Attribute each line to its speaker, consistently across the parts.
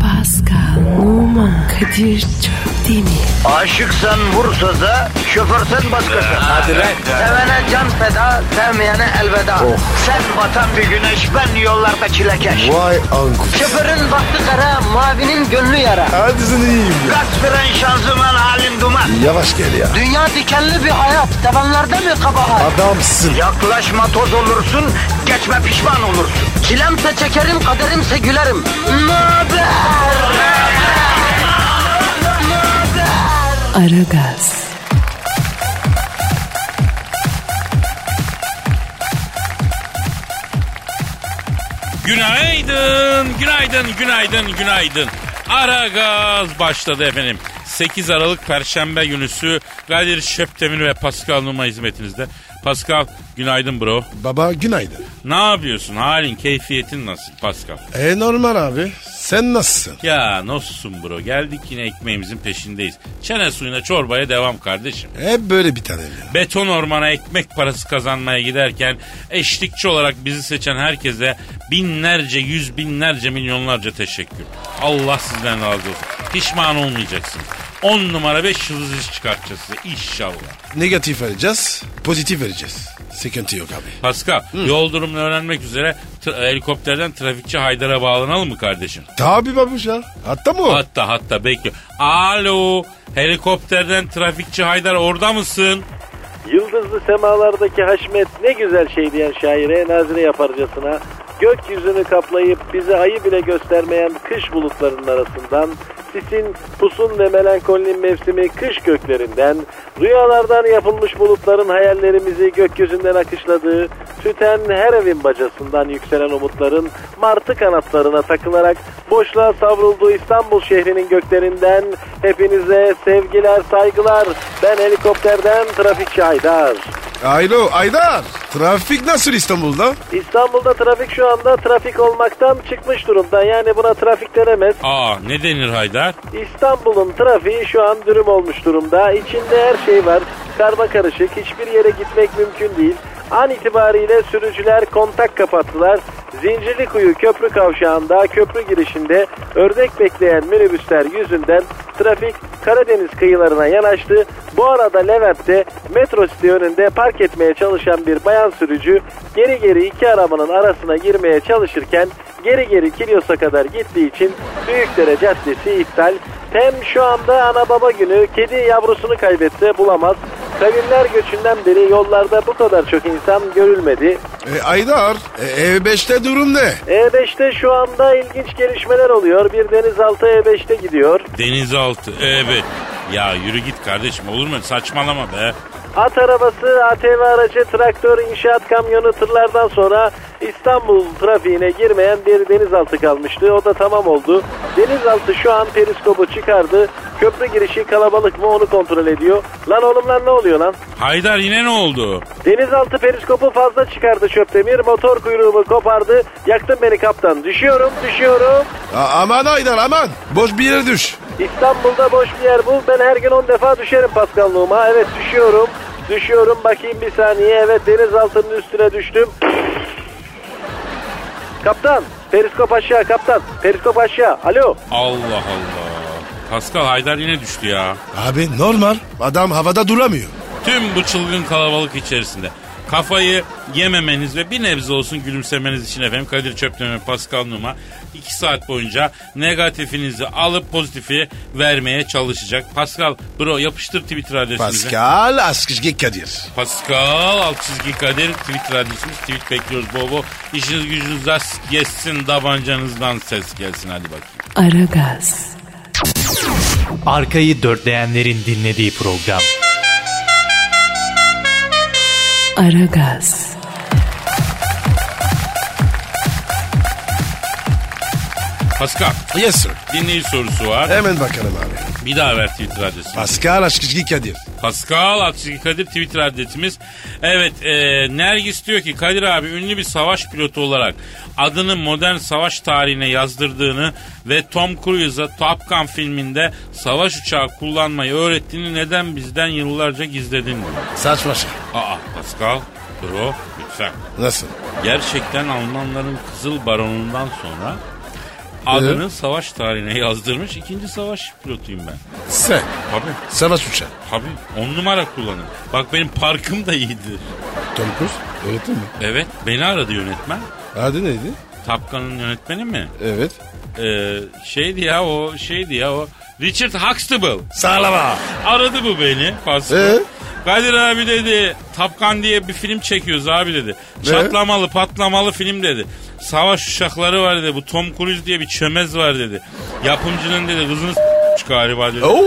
Speaker 1: Pascal, Oman, Kadir çok değil mi?
Speaker 2: Aşıksan vursa da şoförsen başkasın. Hadi
Speaker 3: lan.
Speaker 2: Sevene can feda, sevmeyene elveda. Sen batan bir güneş, ben yollarda çilekeş.
Speaker 3: Vay anku.
Speaker 2: Şoförün baktı kara, mavinin gönlü yara.
Speaker 3: Hadi sen iyiyim ya.
Speaker 2: Kasperen şanzıman halin duman.
Speaker 3: Yavaş gel ya.
Speaker 2: Dünya dikenli bir hayat, sevenlerde mi kabahar?
Speaker 3: Adamsın.
Speaker 2: Yaklaşma toz olursun, geçme pişman olursun. Çilemse çekerim, kaderimse gülerim. Möber!
Speaker 1: Aragaz,
Speaker 4: Günaydın, günaydın, günaydın, günaydın. Ara gaz başladı efendim. 8 Aralık Perşembe günüsü Kadir Şöptemir ve Pascal Numa hizmetinizde. Pascal günaydın bro.
Speaker 3: Baba günaydın.
Speaker 4: Ne yapıyorsun? Halin, keyfiyetin nasıl Pascal?
Speaker 3: E normal abi. Sen nasılsın?
Speaker 4: Ya nasılsın bro? Geldik yine ekmeğimizin peşindeyiz. Çene suyuna çorbaya devam kardeşim.
Speaker 3: Hep E, böyle bir tane ya.
Speaker 4: Beton ormana ekmek parası kazanmaya giderken eşlikçi olarak bizi seçen herkese binlerce, yüz binlerce, milyonlarca teşekkür. Allah sizden razı olsun. Pişman olmayacaksınız. 10 numara 5 yıldız iş çıkartacağız size inşallah.
Speaker 3: Negatif vereceğiz, pozitif vereceğiz. Sıkıntı yok abi.
Speaker 4: Pascal yol durumunu öğrenmek üzere tra- helikopterden trafikçi Haydar'a bağlanalım mı kardeşim?
Speaker 3: Tabi babuş ya. Hatta mı? o?
Speaker 4: Hatta hatta bekliyor. Alo helikopterden trafikçi Haydar orada mısın?
Speaker 5: Yıldızlı semalardaki haşmet ne güzel şey diyen şaire nazire yaparcasına gökyüzünü kaplayıp bize ayı bile göstermeyen kış bulutlarının arasından sisin, pusun ve melankolinin mevsimi kış göklerinden, rüyalardan yapılmış bulutların hayallerimizi gökyüzünden akışladığı, tüten her evin bacasından yükselen umutların martı kanatlarına takılarak boşluğa savrulduğu İstanbul şehrinin göklerinden hepinize sevgiler, saygılar. Ben helikopterden trafikçi Haydar.
Speaker 3: Alo Aydar. Trafik nasıl İstanbul'da?
Speaker 5: İstanbul'da trafik şu anda trafik olmaktan çıkmış durumda. Yani buna trafik denemez.
Speaker 4: Aa ne denir Haydar?
Speaker 5: İstanbul'un trafiği şu an dürüm olmuş durumda. İçinde her şey var. Karma karışık. Hiçbir yere gitmek mümkün değil. An itibariyle sürücüler kontak kapattılar. Zincirlikuyu köprü kavşağında, köprü girişinde ördek bekleyen minibüsler yüzünden trafik Karadeniz kıyılarına yanaştı. Bu arada Levent'te metro site önünde park etmeye çalışan bir bayan sürücü geri geri iki arabanın arasına girmeye çalışırken geri geri Kilyos'a kadar gittiği için Büyükdere Caddesi iptal. Tem şu anda ana baba günü kedi yavrusunu kaybetti bulamaz. Kavimler göçünden beri yollarda bu kadar çok insan görülmedi.
Speaker 3: E, Aydar. E, E5'te durum ne?
Speaker 5: E5'te şu anda ilginç gelişmeler oluyor. Bir denizaltı E5'te gidiyor.
Speaker 4: Denizaltı evet. Ya yürü git kardeşim olur mu? Saçmalama be.
Speaker 5: At arabası, ATV aracı, traktör, inşaat kamyonu tırlardan sonra İstanbul trafiğine girmeyen bir denizaltı kalmıştı. O da tamam oldu. Denizaltı şu an periskopu çıkardı. Köprü girişi kalabalık mı onu kontrol ediyor. Lan oğlum lan ne oluyor lan?
Speaker 4: Haydar yine ne oldu?
Speaker 5: Denizaltı periskopu fazla çıkardı Çöptemir. Motor kuyruğumu kopardı. Yaktın beni kaptan. Düşüyorum, düşüyorum.
Speaker 3: A- aman Aydar aman. Boş bir yere düş.
Speaker 5: İstanbul'da boş bir yer bul. Ben her gün 10 defa düşerim paskanlığıma. Evet düşüyorum. Düşüyorum bakayım bir saniye. Evet denizaltının üstüne düştüm. Kaptan. Periskop aşağı kaptan. Periskop aşağı. Alo.
Speaker 4: Allah Allah. Pascal Haydar yine düştü ya.
Speaker 3: Abi normal. Adam havada duramıyor.
Speaker 4: Tüm bu çılgın kalabalık içerisinde. Kafayı yememeniz ve bir nebze olsun gülümsemeniz için efendim Kadir Çöpten ve Pascal Numa 2 saat boyunca negatifinizi alıp pozitifi vermeye çalışacak. Pascal bro yapıştır Twitter adresimize.
Speaker 3: Pascal Askışge Kadir.
Speaker 4: Pascal alt çizgi Kadir Twitter adresimiz tweet bekliyoruz bol bol. İşiniz gücünüz rast gelsin tabancanızdan ses gelsin hadi bakayım.
Speaker 1: Aragaz,
Speaker 6: Arkayı dörtleyenlerin dinlediği program.
Speaker 1: Aragaz,
Speaker 4: Pascal
Speaker 3: Yes sir.
Speaker 4: dinleyici sorusu var.
Speaker 3: Hemen bakalım abi.
Speaker 4: Bir daha ver Twitter adresini.
Speaker 3: Pascal Askışge Kadir.
Speaker 4: Pascal Askizgi Kadir Twitter adresimiz. Evet e, Nergis diyor ki Kadir abi ünlü bir savaş pilotu olarak adını modern savaş tarihine yazdırdığını ve Tom Cruise'a Top Gun filminde savaş uçağı kullanmayı öğrettiğini neden bizden yıllarca gizledin diyor.
Speaker 3: Saçma şey.
Speaker 4: Aa Pascal bro lütfen.
Speaker 3: Nasıl?
Speaker 4: Gerçekten Almanların Kızıl Baronu'ndan sonra Adını savaş tarihine yazdırmış ikinci savaş pilotuyum ben.
Speaker 3: Sen.
Speaker 4: Tabii.
Speaker 3: Savaş uçağı.
Speaker 4: Tabii. On numara kullanın. Bak benim parkım da iyidir.
Speaker 3: Tom Cruise. Öğretin mi?
Speaker 4: Evet. Beni aradı yönetmen.
Speaker 3: Adı neydi?
Speaker 4: Tapkan'ın yönetmeni mi?
Speaker 3: Evet.
Speaker 4: Ee, şeydi ya o şeydi ya o. Richard Huxtable.
Speaker 3: Sağlama.
Speaker 4: Aradı bu beni Pasko.
Speaker 3: Ee?
Speaker 4: Kadir abi dedi Tapkan diye bir film çekiyoruz abi dedi. Çatlamalı patlamalı film dedi. Savaş uçakları var dedi. Bu Tom Cruise diye bir çömez var dedi. Yapımcının dedi kızını s- galiba dedi.
Speaker 3: Oo.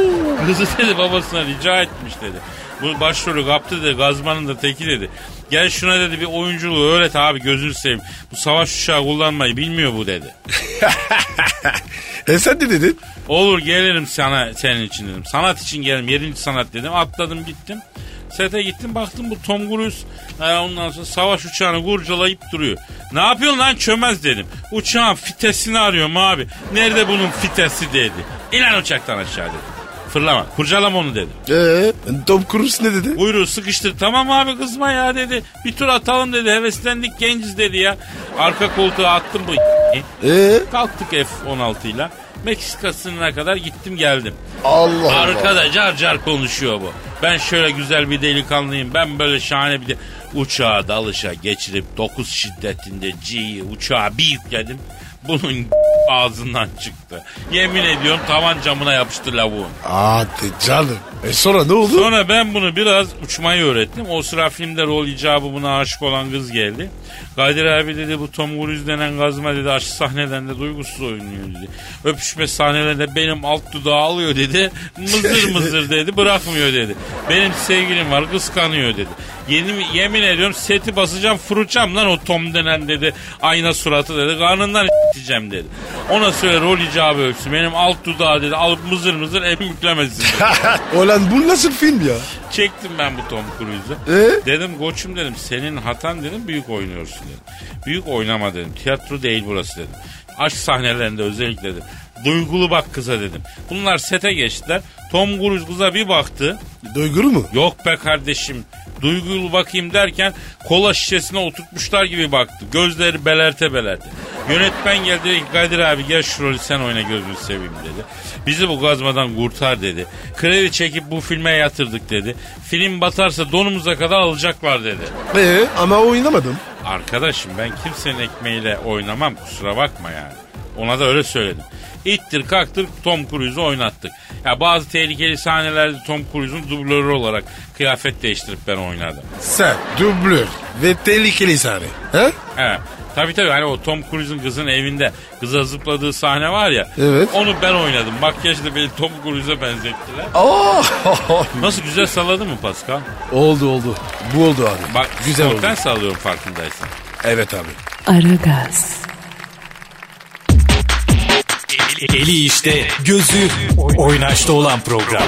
Speaker 4: Kızı dedi babasına rica etmiş dedi. Bu başrolü kaptı dedi. Gazmanın da teki dedi. Gel şuna dedi bir oyunculuğu öğret abi gözünü seveyim. Bu savaş uçağı kullanmayı bilmiyor bu dedi.
Speaker 3: E sen ne dedin?
Speaker 4: Olur gelirim sana senin için dedim. Sanat için gelirim. Yedinci sanat dedim. Atladım gittim. Sete gittim baktım bu Tom Cruise e, ondan sonra savaş uçağını kurcalayıp duruyor. Ne yapıyorsun lan çömez dedim. Uçağın fitesini arıyorum abi. Nerede bunun fitesi dedi. İlan uçaktan aşağı dedi. Fırlama kurcalama onu dedim.
Speaker 3: Ee, Tom Cruise ne dedi?
Speaker 4: Buyruğu sıkıştır. Tamam abi kızma ya dedi. Bir tur atalım dedi. Heveslendik genciz dedi ya. Arka koltuğa attım bu
Speaker 3: Ee,
Speaker 4: Kalktık F-16 ile. Meksika sınırına kadar gittim geldim.
Speaker 3: Allah Allah.
Speaker 4: Arkada car car konuşuyor bu. Ben şöyle güzel bir delikanlıyım. Ben böyle şahane bir de... Uçağa dalışa geçirip 9 şiddetinde G'yi uçağa bir yükledim. Bunun ağzından çıktı. Yemin ediyorum tavan camına yapıştı lavuğun.
Speaker 3: Hadi canım. E sonra ne oldu?
Speaker 4: Sonra ben bunu biraz uçmayı öğrettim. O sıra filmde rol icabı buna aşık olan kız geldi. Kadir abi dedi bu Tom Cruise denen gazma dedi aşk sahneden de duygusuz oynuyor dedi. Öpüşme sahnelerinde benim alt dudağı alıyor dedi. Mızır mızır dedi bırakmıyor dedi. Benim sevgilim var kıskanıyor dedi. Yemin, yemin ediyorum seti basacağım fırçam lan o Tom denen dedi. Ayna suratı dedi. Karnından içeceğim dedi. Ona söyle rol icabı öpsün. Benim alt dudağı dedi alıp mızır mızır emüklemesin.
Speaker 3: Ulan bu nasıl film ya?
Speaker 4: Çektim ben bu Tom Cruise'u.
Speaker 3: Ee?
Speaker 4: Dedim koçum dedim senin hatan dedim büyük oynuyorsun dedim. Büyük oynama dedim. Tiyatro değil burası dedim. Aşk sahnelerinde özellikle dedim. Duygulu bak kıza dedim. Bunlar sete geçtiler. Tom Cruise kıza bir baktı.
Speaker 3: Duyguru mu?
Speaker 4: Yok be kardeşim. Duygulu bakayım derken kola şişesine oturtmuşlar gibi baktı. Gözleri belerte belerte. Yönetmen geldi dedi ki Kadir abi gel şu rolü sen oyna gözünü seveyim dedi. Bizi bu gazmadan kurtar dedi. Kredi çekip bu filme yatırdık dedi. Film batarsa donumuza kadar alacaklar dedi.
Speaker 3: Ee, ama oynamadım.
Speaker 4: Arkadaşım ben kimsenin ekmeğiyle oynamam kusura bakma yani. Ona da öyle söyledim. İttir kaktır Tom Cruise'u oynattık. Ya bazı tehlikeli sahnelerde Tom Cruise'un dublörü olarak kıyafet değiştirip ben oynadım.
Speaker 3: Sen dublör ve tehlikeli sahne. He?
Speaker 4: He. Tabii tabii hani o Tom Cruise'un kızın evinde kıza zıpladığı sahne var ya.
Speaker 3: Evet.
Speaker 4: Onu ben oynadım. Makyajla beni Tom Cruise'a benzettiler.
Speaker 3: Oh!
Speaker 4: Nasıl güzel salladı mı Pascal?
Speaker 3: oldu oldu. Bu oldu abi.
Speaker 4: Bak
Speaker 3: Güzel oldu.
Speaker 4: sporttan sallıyorum farkındaysan.
Speaker 3: Evet abi.
Speaker 1: Aragaz,
Speaker 6: Eli işte, gözü oynaşta olan program.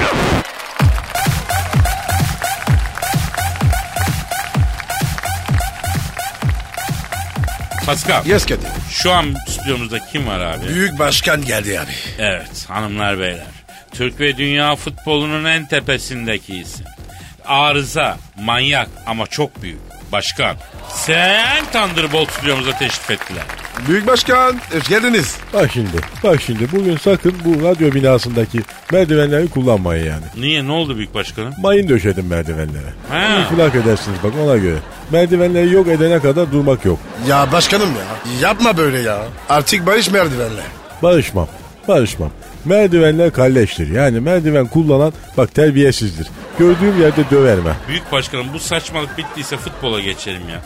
Speaker 4: Pascal
Speaker 3: Yes Kadir.
Speaker 4: şu an stüdyomuzda kim var abi?
Speaker 3: Büyük başkan geldi abi.
Speaker 4: Evet hanımlar beyler. Türk ve dünya futbolunun en tepesindeki isim. Arıza, manyak ama çok büyük. Başkan. Sen Thunderbolt stüdyomuza teşrif ettiler.
Speaker 3: Büyük başkan hoş geldiniz.
Speaker 7: Bak şimdi, bak şimdi bugün sakın bu radyo binasındaki merdivenleri kullanmayın yani.
Speaker 4: Niye ne oldu büyük başkanım?
Speaker 7: Mayın döşedim merdivenlere.
Speaker 4: Ha.
Speaker 7: İflak edersiniz bak ona göre. Merdivenleri yok edene kadar durmak yok.
Speaker 3: Ya başkanım ya yapma böyle ya. Artık barış merdivenle.
Speaker 7: Barışmam, barışmam. Merdivenler kalleştir. Yani merdiven kullanan bak terbiyesizdir. Gördüğüm yerde döverim ben.
Speaker 4: Büyük başkanım bu saçmalık bittiyse futbola geçelim ya.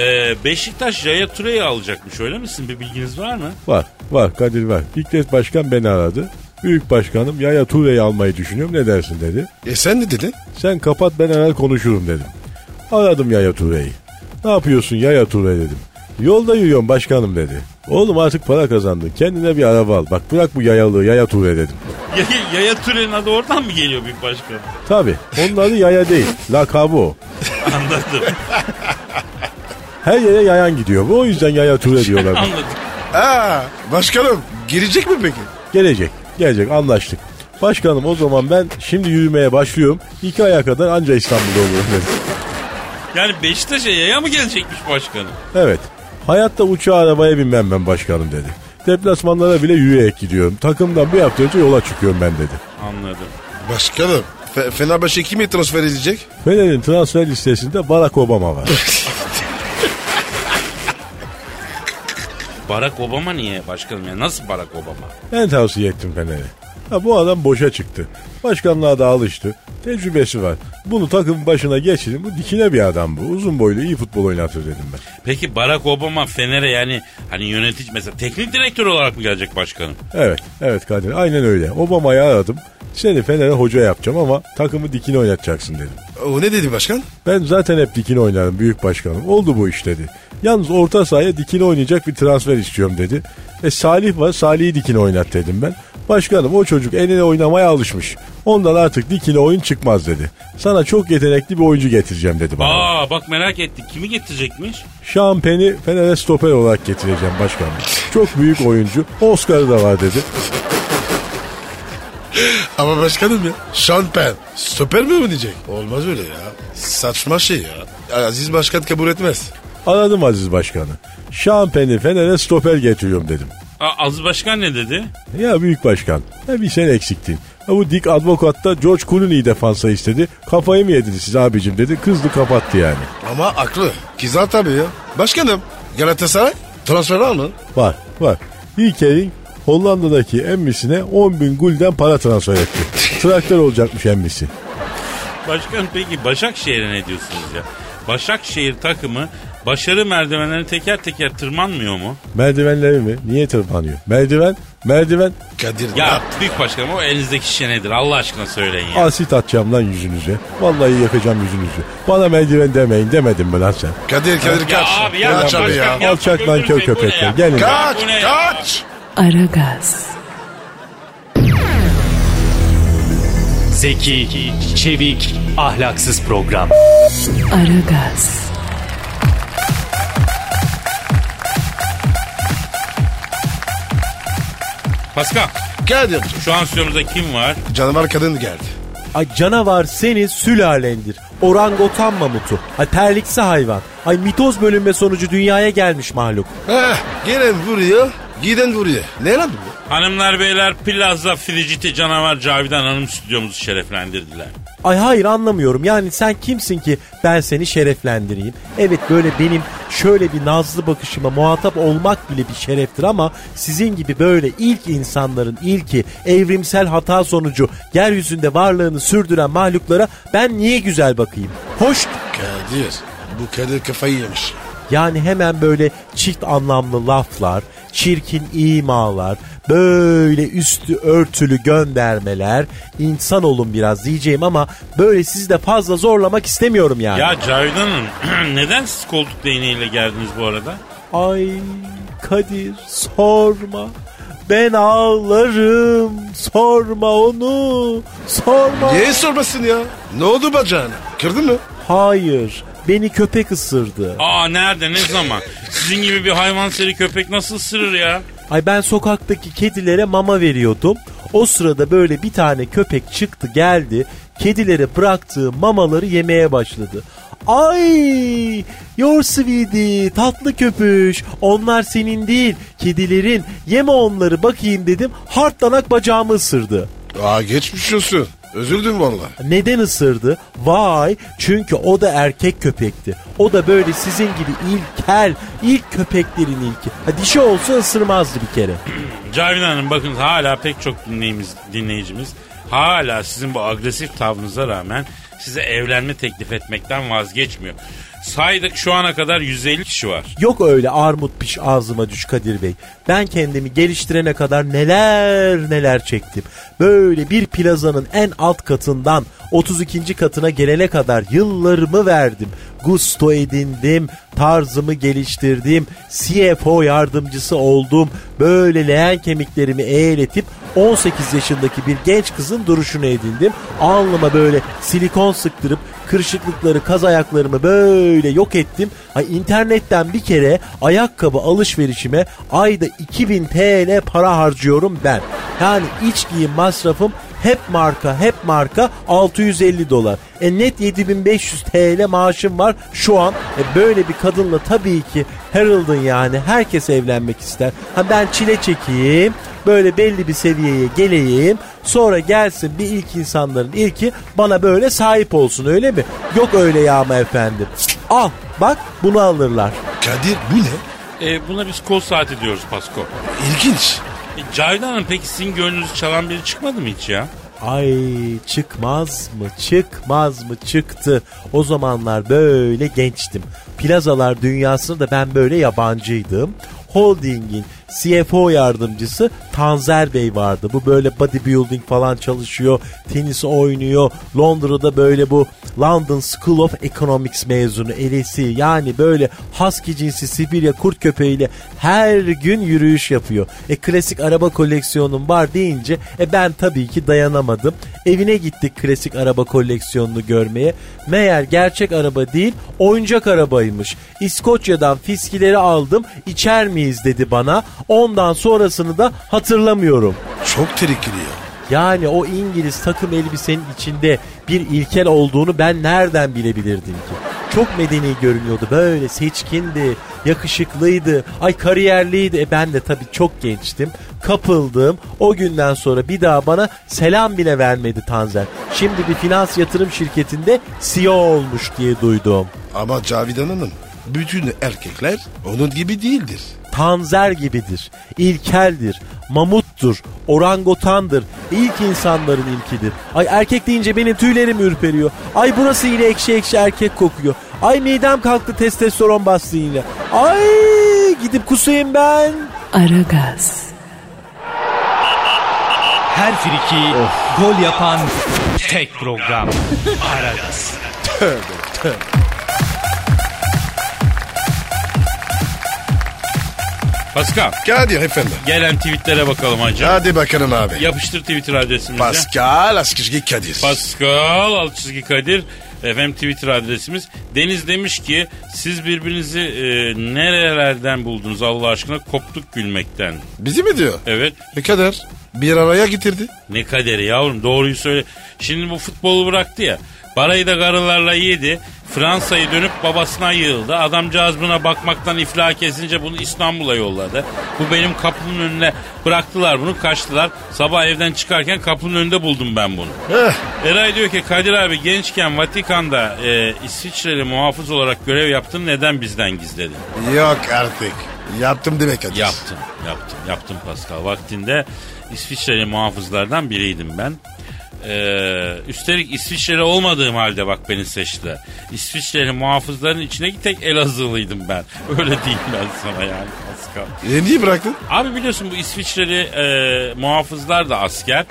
Speaker 4: Ee, Beşiktaş Yaya Ture'yi alacakmış öyle misin? Bir bilginiz var mı?
Speaker 7: Var, var Kadir var. İkret Başkan beni aradı. Büyük başkanım Yaya Ture'yi almayı düşünüyorum ne dersin dedi.
Speaker 3: E sen ne dedin?
Speaker 7: Sen kapat ben hemen konuşurum dedim. Aradım Yaya Ture'yi. Ne yapıyorsun Yaya Ture dedim. Yolda yürüyorum başkanım dedi. Oğlum artık para kazandın. Kendine bir araba al. Bak bırak bu yayalığı Yaya Ture dedim.
Speaker 4: Yaya, Yaya Ture'nin adı oradan mı geliyor büyük başkanım?
Speaker 7: Tabi onun adı Yaya değil. Lakabı o.
Speaker 4: Anladım.
Speaker 7: Her yere yayan gidiyor. Bu o yüzden Yaya Ture diyorlar.
Speaker 4: Anladım.
Speaker 3: Aa başkanım girecek mi peki?
Speaker 7: gelecek. Gelecek anlaştık. Başkanım o zaman ben şimdi yürümeye başlıyorum. İki aya kadar anca İstanbul'da olurum dedim.
Speaker 4: Yani Beşiktaş'a yaya mı gelecekmiş başkanım?
Speaker 7: Evet. Hayatta uçağa arabaya binmem ben başkanım dedi.
Speaker 8: Deplasmanlara bile yürüyerek gidiyorum. Takımdan bir hafta önce yola çıkıyorum ben dedi.
Speaker 4: Anladım.
Speaker 3: Başkanım. Fe- Fenerbahçe kimi transfer edecek?
Speaker 8: Fener'in transfer listesinde Barack Obama var.
Speaker 4: Barack Obama niye başkanım ya? Nasıl Barack Obama?
Speaker 8: Ben tavsiye ettim Fener'e. Ha, bu adam boşa çıktı. Başkanlığa da alıştı. Tecrübesi var. Bunu takım başına geçirin. Bu dikine bir adam bu. Uzun boylu iyi futbol oynatır dedim ben.
Speaker 4: Peki Barack Obama Fener'e yani hani yönetici mesela teknik direktör olarak mı gelecek başkanım?
Speaker 8: Evet, evet Kadir. Aynen öyle. Obama'yı aradım. Seni Fener'e hoca yapacağım ama takımı dikine oynatacaksın dedim.
Speaker 3: O ne dedi başkan?
Speaker 8: Ben zaten hep dikine oynarım büyük başkanım. Oldu bu iş dedi. Yalnız orta sahaya dikine oynayacak bir transfer istiyorum dedi. E Salih var Salih'i dikine oynat dedim ben. Başkanım o çocuk eline oynamaya alışmış. Ondan artık dikine oyun çıkmaz dedi. Sana çok yetenekli bir oyuncu getireceğim dedi bana.
Speaker 4: Aa bak merak ettik. Kimi getirecekmiş?
Speaker 8: Şampen'i Fener'e stoper olarak getireceğim başkanım. Çok büyük oyuncu. Oscar'ı da var dedi.
Speaker 3: Ama başkanım ya. Sean Penn. Stoper mi oynayacak? Olmaz öyle ya. Saçma şey ya. Aziz Başkan kabul etmez.
Speaker 8: Aradım Aziz Başkan'ı. Şampen'i Fener'e stoper getiriyorum dedim.
Speaker 4: Aa, Aziz Başkan ne dedi?
Speaker 8: Ya büyük başkan ya bir sen eksiktin. Ya bu Dick Advokat da George Clooney'i defansa istedi. Kafayı mı yediniz siz abicim dedi. Kızdı kapattı yani.
Speaker 3: Ama aklı. Kizan tabii ya. Başkanım. Galatasaray transfer var mı?
Speaker 8: Var var. İlker'in Hollanda'daki emmisine 10 bin gulden para transfer etti. Traktör olacakmış emmisi.
Speaker 4: Başkan peki Başakşehir'e ne diyorsunuz ya? Başakşehir takımı başarı merdivenlerini teker teker tırmanmıyor mu?
Speaker 8: Merdivenleri mi? Niye tırmanıyor? Merdiven, merdiven.
Speaker 3: Kadir.
Speaker 4: Ya büyük başkanım o elinizdeki şişe nedir Allah aşkına söyleyin ya.
Speaker 8: Asit atacağım lan yüzünüze. Vallahi yakacağım yüzünüzü. Bana merdiven demeyin demedim mi lan sen?
Speaker 3: Kadir Kadir kaç. kaç abi ya.
Speaker 4: yapma,
Speaker 8: Alçak lan kör
Speaker 4: götürün beni
Speaker 8: köpekler,
Speaker 4: ya.
Speaker 8: gelin.
Speaker 3: Kaç
Speaker 4: Bu ne ya?
Speaker 3: kaç.
Speaker 1: Aragaz,
Speaker 6: Zeki, çevik, ahlaksız program.
Speaker 1: Aragaz,
Speaker 4: Pascal
Speaker 3: Kadir.
Speaker 4: şu an stüdyomuzda kim var?
Speaker 3: Canavar kadın geldi.
Speaker 7: Ay canavar seni sülalendir. Orangotan mamutu. Ay terliksi hayvan. Ay mitoz bölünme sonucu dünyaya gelmiş mahluk.
Speaker 3: Heh, gelen vuruyor. Giden vuruyor. Ne lan bu?
Speaker 4: Hanımlar beyler Plaza Frigiti canavar Cavidan Hanım stüdyomuzu şereflendirdiler.
Speaker 7: Ay hayır anlamıyorum. Yani sen kimsin ki ben seni şereflendireyim? Evet böyle benim şöyle bir nazlı bakışıma muhatap olmak bile bir şereftir ama sizin gibi böyle ilk insanların ilki evrimsel hata sonucu yeryüzünde varlığını sürdüren mahluklara ben niye güzel bakayım? Hoş
Speaker 3: Kadir. Bu Kadir kafayı yemiş.
Speaker 7: Yani hemen böyle çift anlamlı laflar, çirkin imalar, böyle üstü örtülü göndermeler, insan olun biraz diyeceğim ama böyle sizi de fazla zorlamak istemiyorum yani.
Speaker 4: Ya Cavidan Hanım neden siz koltuk değneğiyle geldiniz bu arada?
Speaker 7: Ay Kadir sorma. Ben ağlarım. Sorma onu. Sorma.
Speaker 3: Niye sormasın ya? Ne oldu bacağına? Kırdın mı?
Speaker 7: Hayır. Beni köpek ısırdı.
Speaker 4: Aa nerede ne zaman? Sizin gibi bir hayvanseri köpek nasıl ısırır ya?
Speaker 7: Ay ben sokaktaki kedilere mama veriyordum. O sırada böyle bir tane köpek çıktı geldi. Kedilere bıraktığı mamaları yemeye başladı. Ay your sweetie tatlı köpüş onlar senin değil kedilerin yeme onları bakayım dedim hartlanak bacağımı ısırdı.
Speaker 3: Aa geçmiş olsun. Özür dilerim valla.
Speaker 7: Neden ısırdı? Vay çünkü o da erkek köpekti. O da böyle sizin gibi ilkel ilk köpeklerin ilki. Ha, dişi olsa ısırmazdı bir kere.
Speaker 4: Cavidan Hanım bakın hala pek çok dinleyicimiz, dinleyicimiz hala sizin bu agresif tavrınıza rağmen size evlenme teklif etmekten vazgeçmiyor. Saydık şu ana kadar 150 kişi var.
Speaker 7: Yok öyle armut piş ağzıma düş Kadir Bey. Ben kendimi geliştirene kadar neler neler çektim. Böyle bir plazanın en alt katından 32. katına gelene kadar yıllarımı verdim. Gusto edindim, tarzımı geliştirdim, CFO yardımcısı oldum. Böyle leğen kemiklerimi eğletip 18 yaşındaki bir genç kızın duruşunu edindim. Alnıma böyle silikon sıktırıp kırışıklıkları, kaz ayaklarımı böyle yok ettim. Ay internetten bir kere ayakkabı alışverişime ayda 2000 TL para harcıyorum ben. Yani iç giyim masrafım Hep marka hep marka 650 dolar. E net 7500 TL maaşım var şu an. E böyle bir kadınla tabii ki Harold'ın yani herkes evlenmek ister. Ha ben çile çekeyim. Böyle belli bir seviyeye geleyim. Sonra gelsin bir ilk insanların ilki bana böyle sahip olsun öyle mi? Yok öyle yağma efendim. Al bak bunu alırlar.
Speaker 3: Kadir bu ne?
Speaker 4: E, buna biz kol saati diyoruz Pasko.
Speaker 3: İlginç.
Speaker 4: E, Cavidan Hanım peki sizin gönlünüzü çalan biri çıkmadı mı hiç ya?
Speaker 7: Ay çıkmaz mı çıkmaz mı çıktı. O zamanlar böyle gençtim. Plazalar dünyasında da ben böyle yabancıydım. Holding'in CFO yardımcısı Tanzer Bey vardı. Bu böyle bodybuilding falan çalışıyor, tenis oynuyor. Londra'da böyle bu London School of Economics mezunu elesi. Yani böyle husky cinsi Sibirya kurt köpeğiyle her gün yürüyüş yapıyor. E klasik araba koleksiyonum var deyince e ben tabii ki dayanamadım. Evine gittik klasik araba koleksiyonunu görmeye. Meğer gerçek araba değil oyuncak arabaymış. İskoçya'dan fiskileri aldım içer miyiz dedi bana. Ondan sonrasını da hatırlamıyorum.
Speaker 3: Çok tehlikeli ya.
Speaker 7: Yani o İngiliz takım elbisenin içinde bir ilkel olduğunu ben nereden bilebilirdim ki? Çok medeni görünüyordu böyle seçkindi, yakışıklıydı, ay kariyerliydi. E ben de tabii çok gençtim, kapıldım. O günden sonra bir daha bana selam bile vermedi Tanzer. Şimdi bir finans yatırım şirketinde CEO olmuş diye duydum.
Speaker 3: Ama Cavidan Hanım bütün erkekler onun gibi değildir.
Speaker 7: Tanzer gibidir, ilkeldir, mamuttur, orangotandır, ilk insanların ilkidir. Ay erkek deyince benim tüylerim ürperiyor. Ay burası yine ekşi ekşi erkek kokuyor. Ay midem kalktı testosteron bastı yine. Ay gidip kusayım ben.
Speaker 1: Aragaz,
Speaker 6: Her friki gol yapan tek program. Aragaz.
Speaker 4: Pascal
Speaker 3: Kadir efendim.
Speaker 4: gelen tweetlere bakalım hacı.
Speaker 3: Hadi bakalım abi.
Speaker 4: Yapıştır Twitter adresimize.
Speaker 3: Pascal Askışki Kadir.
Speaker 4: Pascal alt çizgi Kadir. Efendim Twitter adresimiz. Deniz demiş ki siz birbirinizi e, nerelerden buldunuz Allah aşkına koptuk gülmekten.
Speaker 3: Bizi mi diyor?
Speaker 4: Evet
Speaker 3: Ne kadar? Bir araya getirdi.
Speaker 4: ne kaderi yavrum doğruyu söyle. Şimdi bu futbolu bıraktı ya. Parayı da karılarla yedi. Fransa'yı dönüp babasına yığıldı. Adamcağız buna bakmaktan iflah kesince bunu İstanbul'a yolladı. Bu benim kapımın önüne bıraktılar bunu kaçtılar. Sabah evden çıkarken kapının önünde buldum ben bunu.
Speaker 3: Eh,
Speaker 4: Eray diyor ki Kadir abi gençken Vatikan'da e, İsviçreli muhafız olarak görev yaptın neden bizden gizledin?
Speaker 3: yok artık. Yaptım demek Kadir.
Speaker 4: Yaptım, yaptım, yaptım Pascal. Vaktinde İsviçreli muhafızlardan biriydim ben. Ee, üstelik İsviçreli olmadığım halde bak beni seçtiler. İsviçreli muhafızların içine tek Elazığlıydım ben. Öyle diyeyim ben sana yani Pascal.
Speaker 3: E, niye bıraktın?
Speaker 4: Abi biliyorsun bu İsviçreli e, muhafızlar da asker.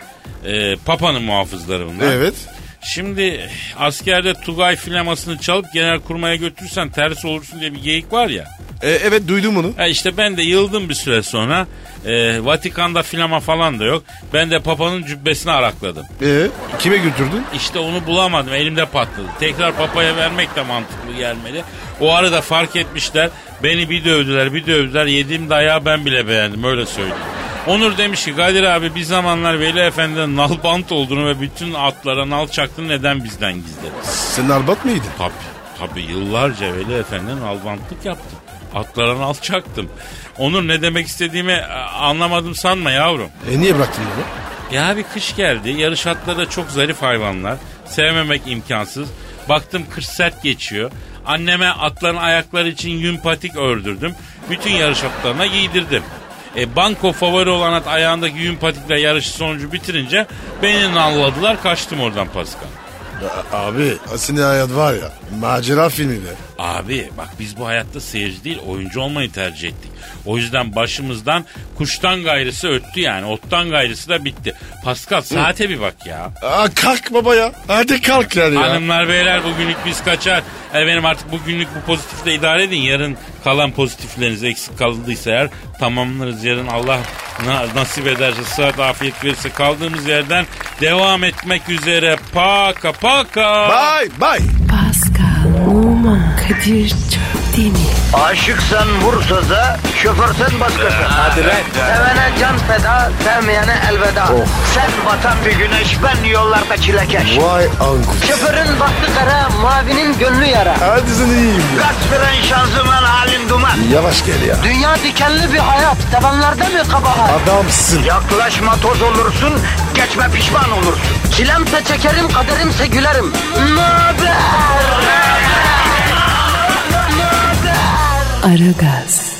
Speaker 4: E, Papa'nın muhafızları bunlar.
Speaker 3: Evet.
Speaker 4: Şimdi askerde Tugay flamasını çalıp genelkurmaya götürürsen ters olursun diye bir geyik var ya.
Speaker 3: E, evet duydum onu.
Speaker 4: Ha işte ben de yıldım bir süre sonra. Ee, Vatikan'da filama falan da yok. Ben de papanın cübbesini arakladım.
Speaker 3: E, kime götürdün?
Speaker 4: İşte onu bulamadım elimde patladı. Tekrar papaya vermek de mantıklı gelmedi. O arada fark etmişler. Beni bir dövdüler bir dövdüler. Yediğim dayağı ben bile beğendim öyle söyleyeyim. Onur demiş ki Kadir abi bir zamanlar Veli Efendi'nin nalbant olduğunu ve bütün atlara nal çaktığını neden bizden gizledi?
Speaker 3: Sen albat mıydın?
Speaker 4: Tabii. Tabii yıllarca Veli Efendi'nin albantlık yaptım. Atlarını alçaktım. Onur ne demek istediğimi e, anlamadım sanma yavrum.
Speaker 3: E, niye bıraktın bunu?
Speaker 4: Ya bir kış geldi. Yarış atları da çok zarif hayvanlar. Sevmemek imkansız. Baktım kış sert geçiyor. Anneme atların ayakları için yün patik ördürdüm. Bütün yarış atlarına giydirdim. E, banko favori olan at ayağındaki yün patikle yarışı sonucu bitirince beni nalvadılar. Kaçtım oradan Pascal.
Speaker 3: A- abi Asini Hayat var ya macera filmi be.
Speaker 4: Abi bak biz bu hayatta seyirci değil oyuncu olmayı tercih ettik. O yüzden başımızdan kuştan gayrısı öttü yani. Ottan gayrısı da bitti. Pascal saate bir bak ya.
Speaker 3: Aa, kalk baba ya. Hadi kalk yani ya.
Speaker 4: Hanımlar beyler bugünlük biz kaçar. Efendim artık bugünlük bu pozitifle idare edin. Yarın kalan pozitifleriniz eksik kaldıysa eğer tamamlarız. Yarın Allah na- nasip ederse sıhhat afiyet verirse kaldığımız yerden devam etmek üzere. Paka paka.
Speaker 3: Bye bye.
Speaker 1: Pascal, Oman, Kadir çok değil mi?
Speaker 2: Aşıksan vursa da, şoförsen başkasın. Hadi
Speaker 6: lan.
Speaker 2: Sevene can feda, sevmeyene elveda. Sen batan bir güneş, ben yollarda çilekeş.
Speaker 3: Vay anku.
Speaker 2: Şoförün baktı kara, mavinin gönlü yara.
Speaker 3: Hadi sen iyiyim ya.
Speaker 2: Kasperen şanzıman halin duman.
Speaker 3: Yavaş gel ya.
Speaker 2: Dünya dikenli bir hayat, sevenlerde mi kabahar?
Speaker 3: Adamsın.
Speaker 2: Yaklaşma toz olursun, geçme pişman olursun. Çilemse çekerim, kaderimse gülerim. Möber!
Speaker 1: Aragaz.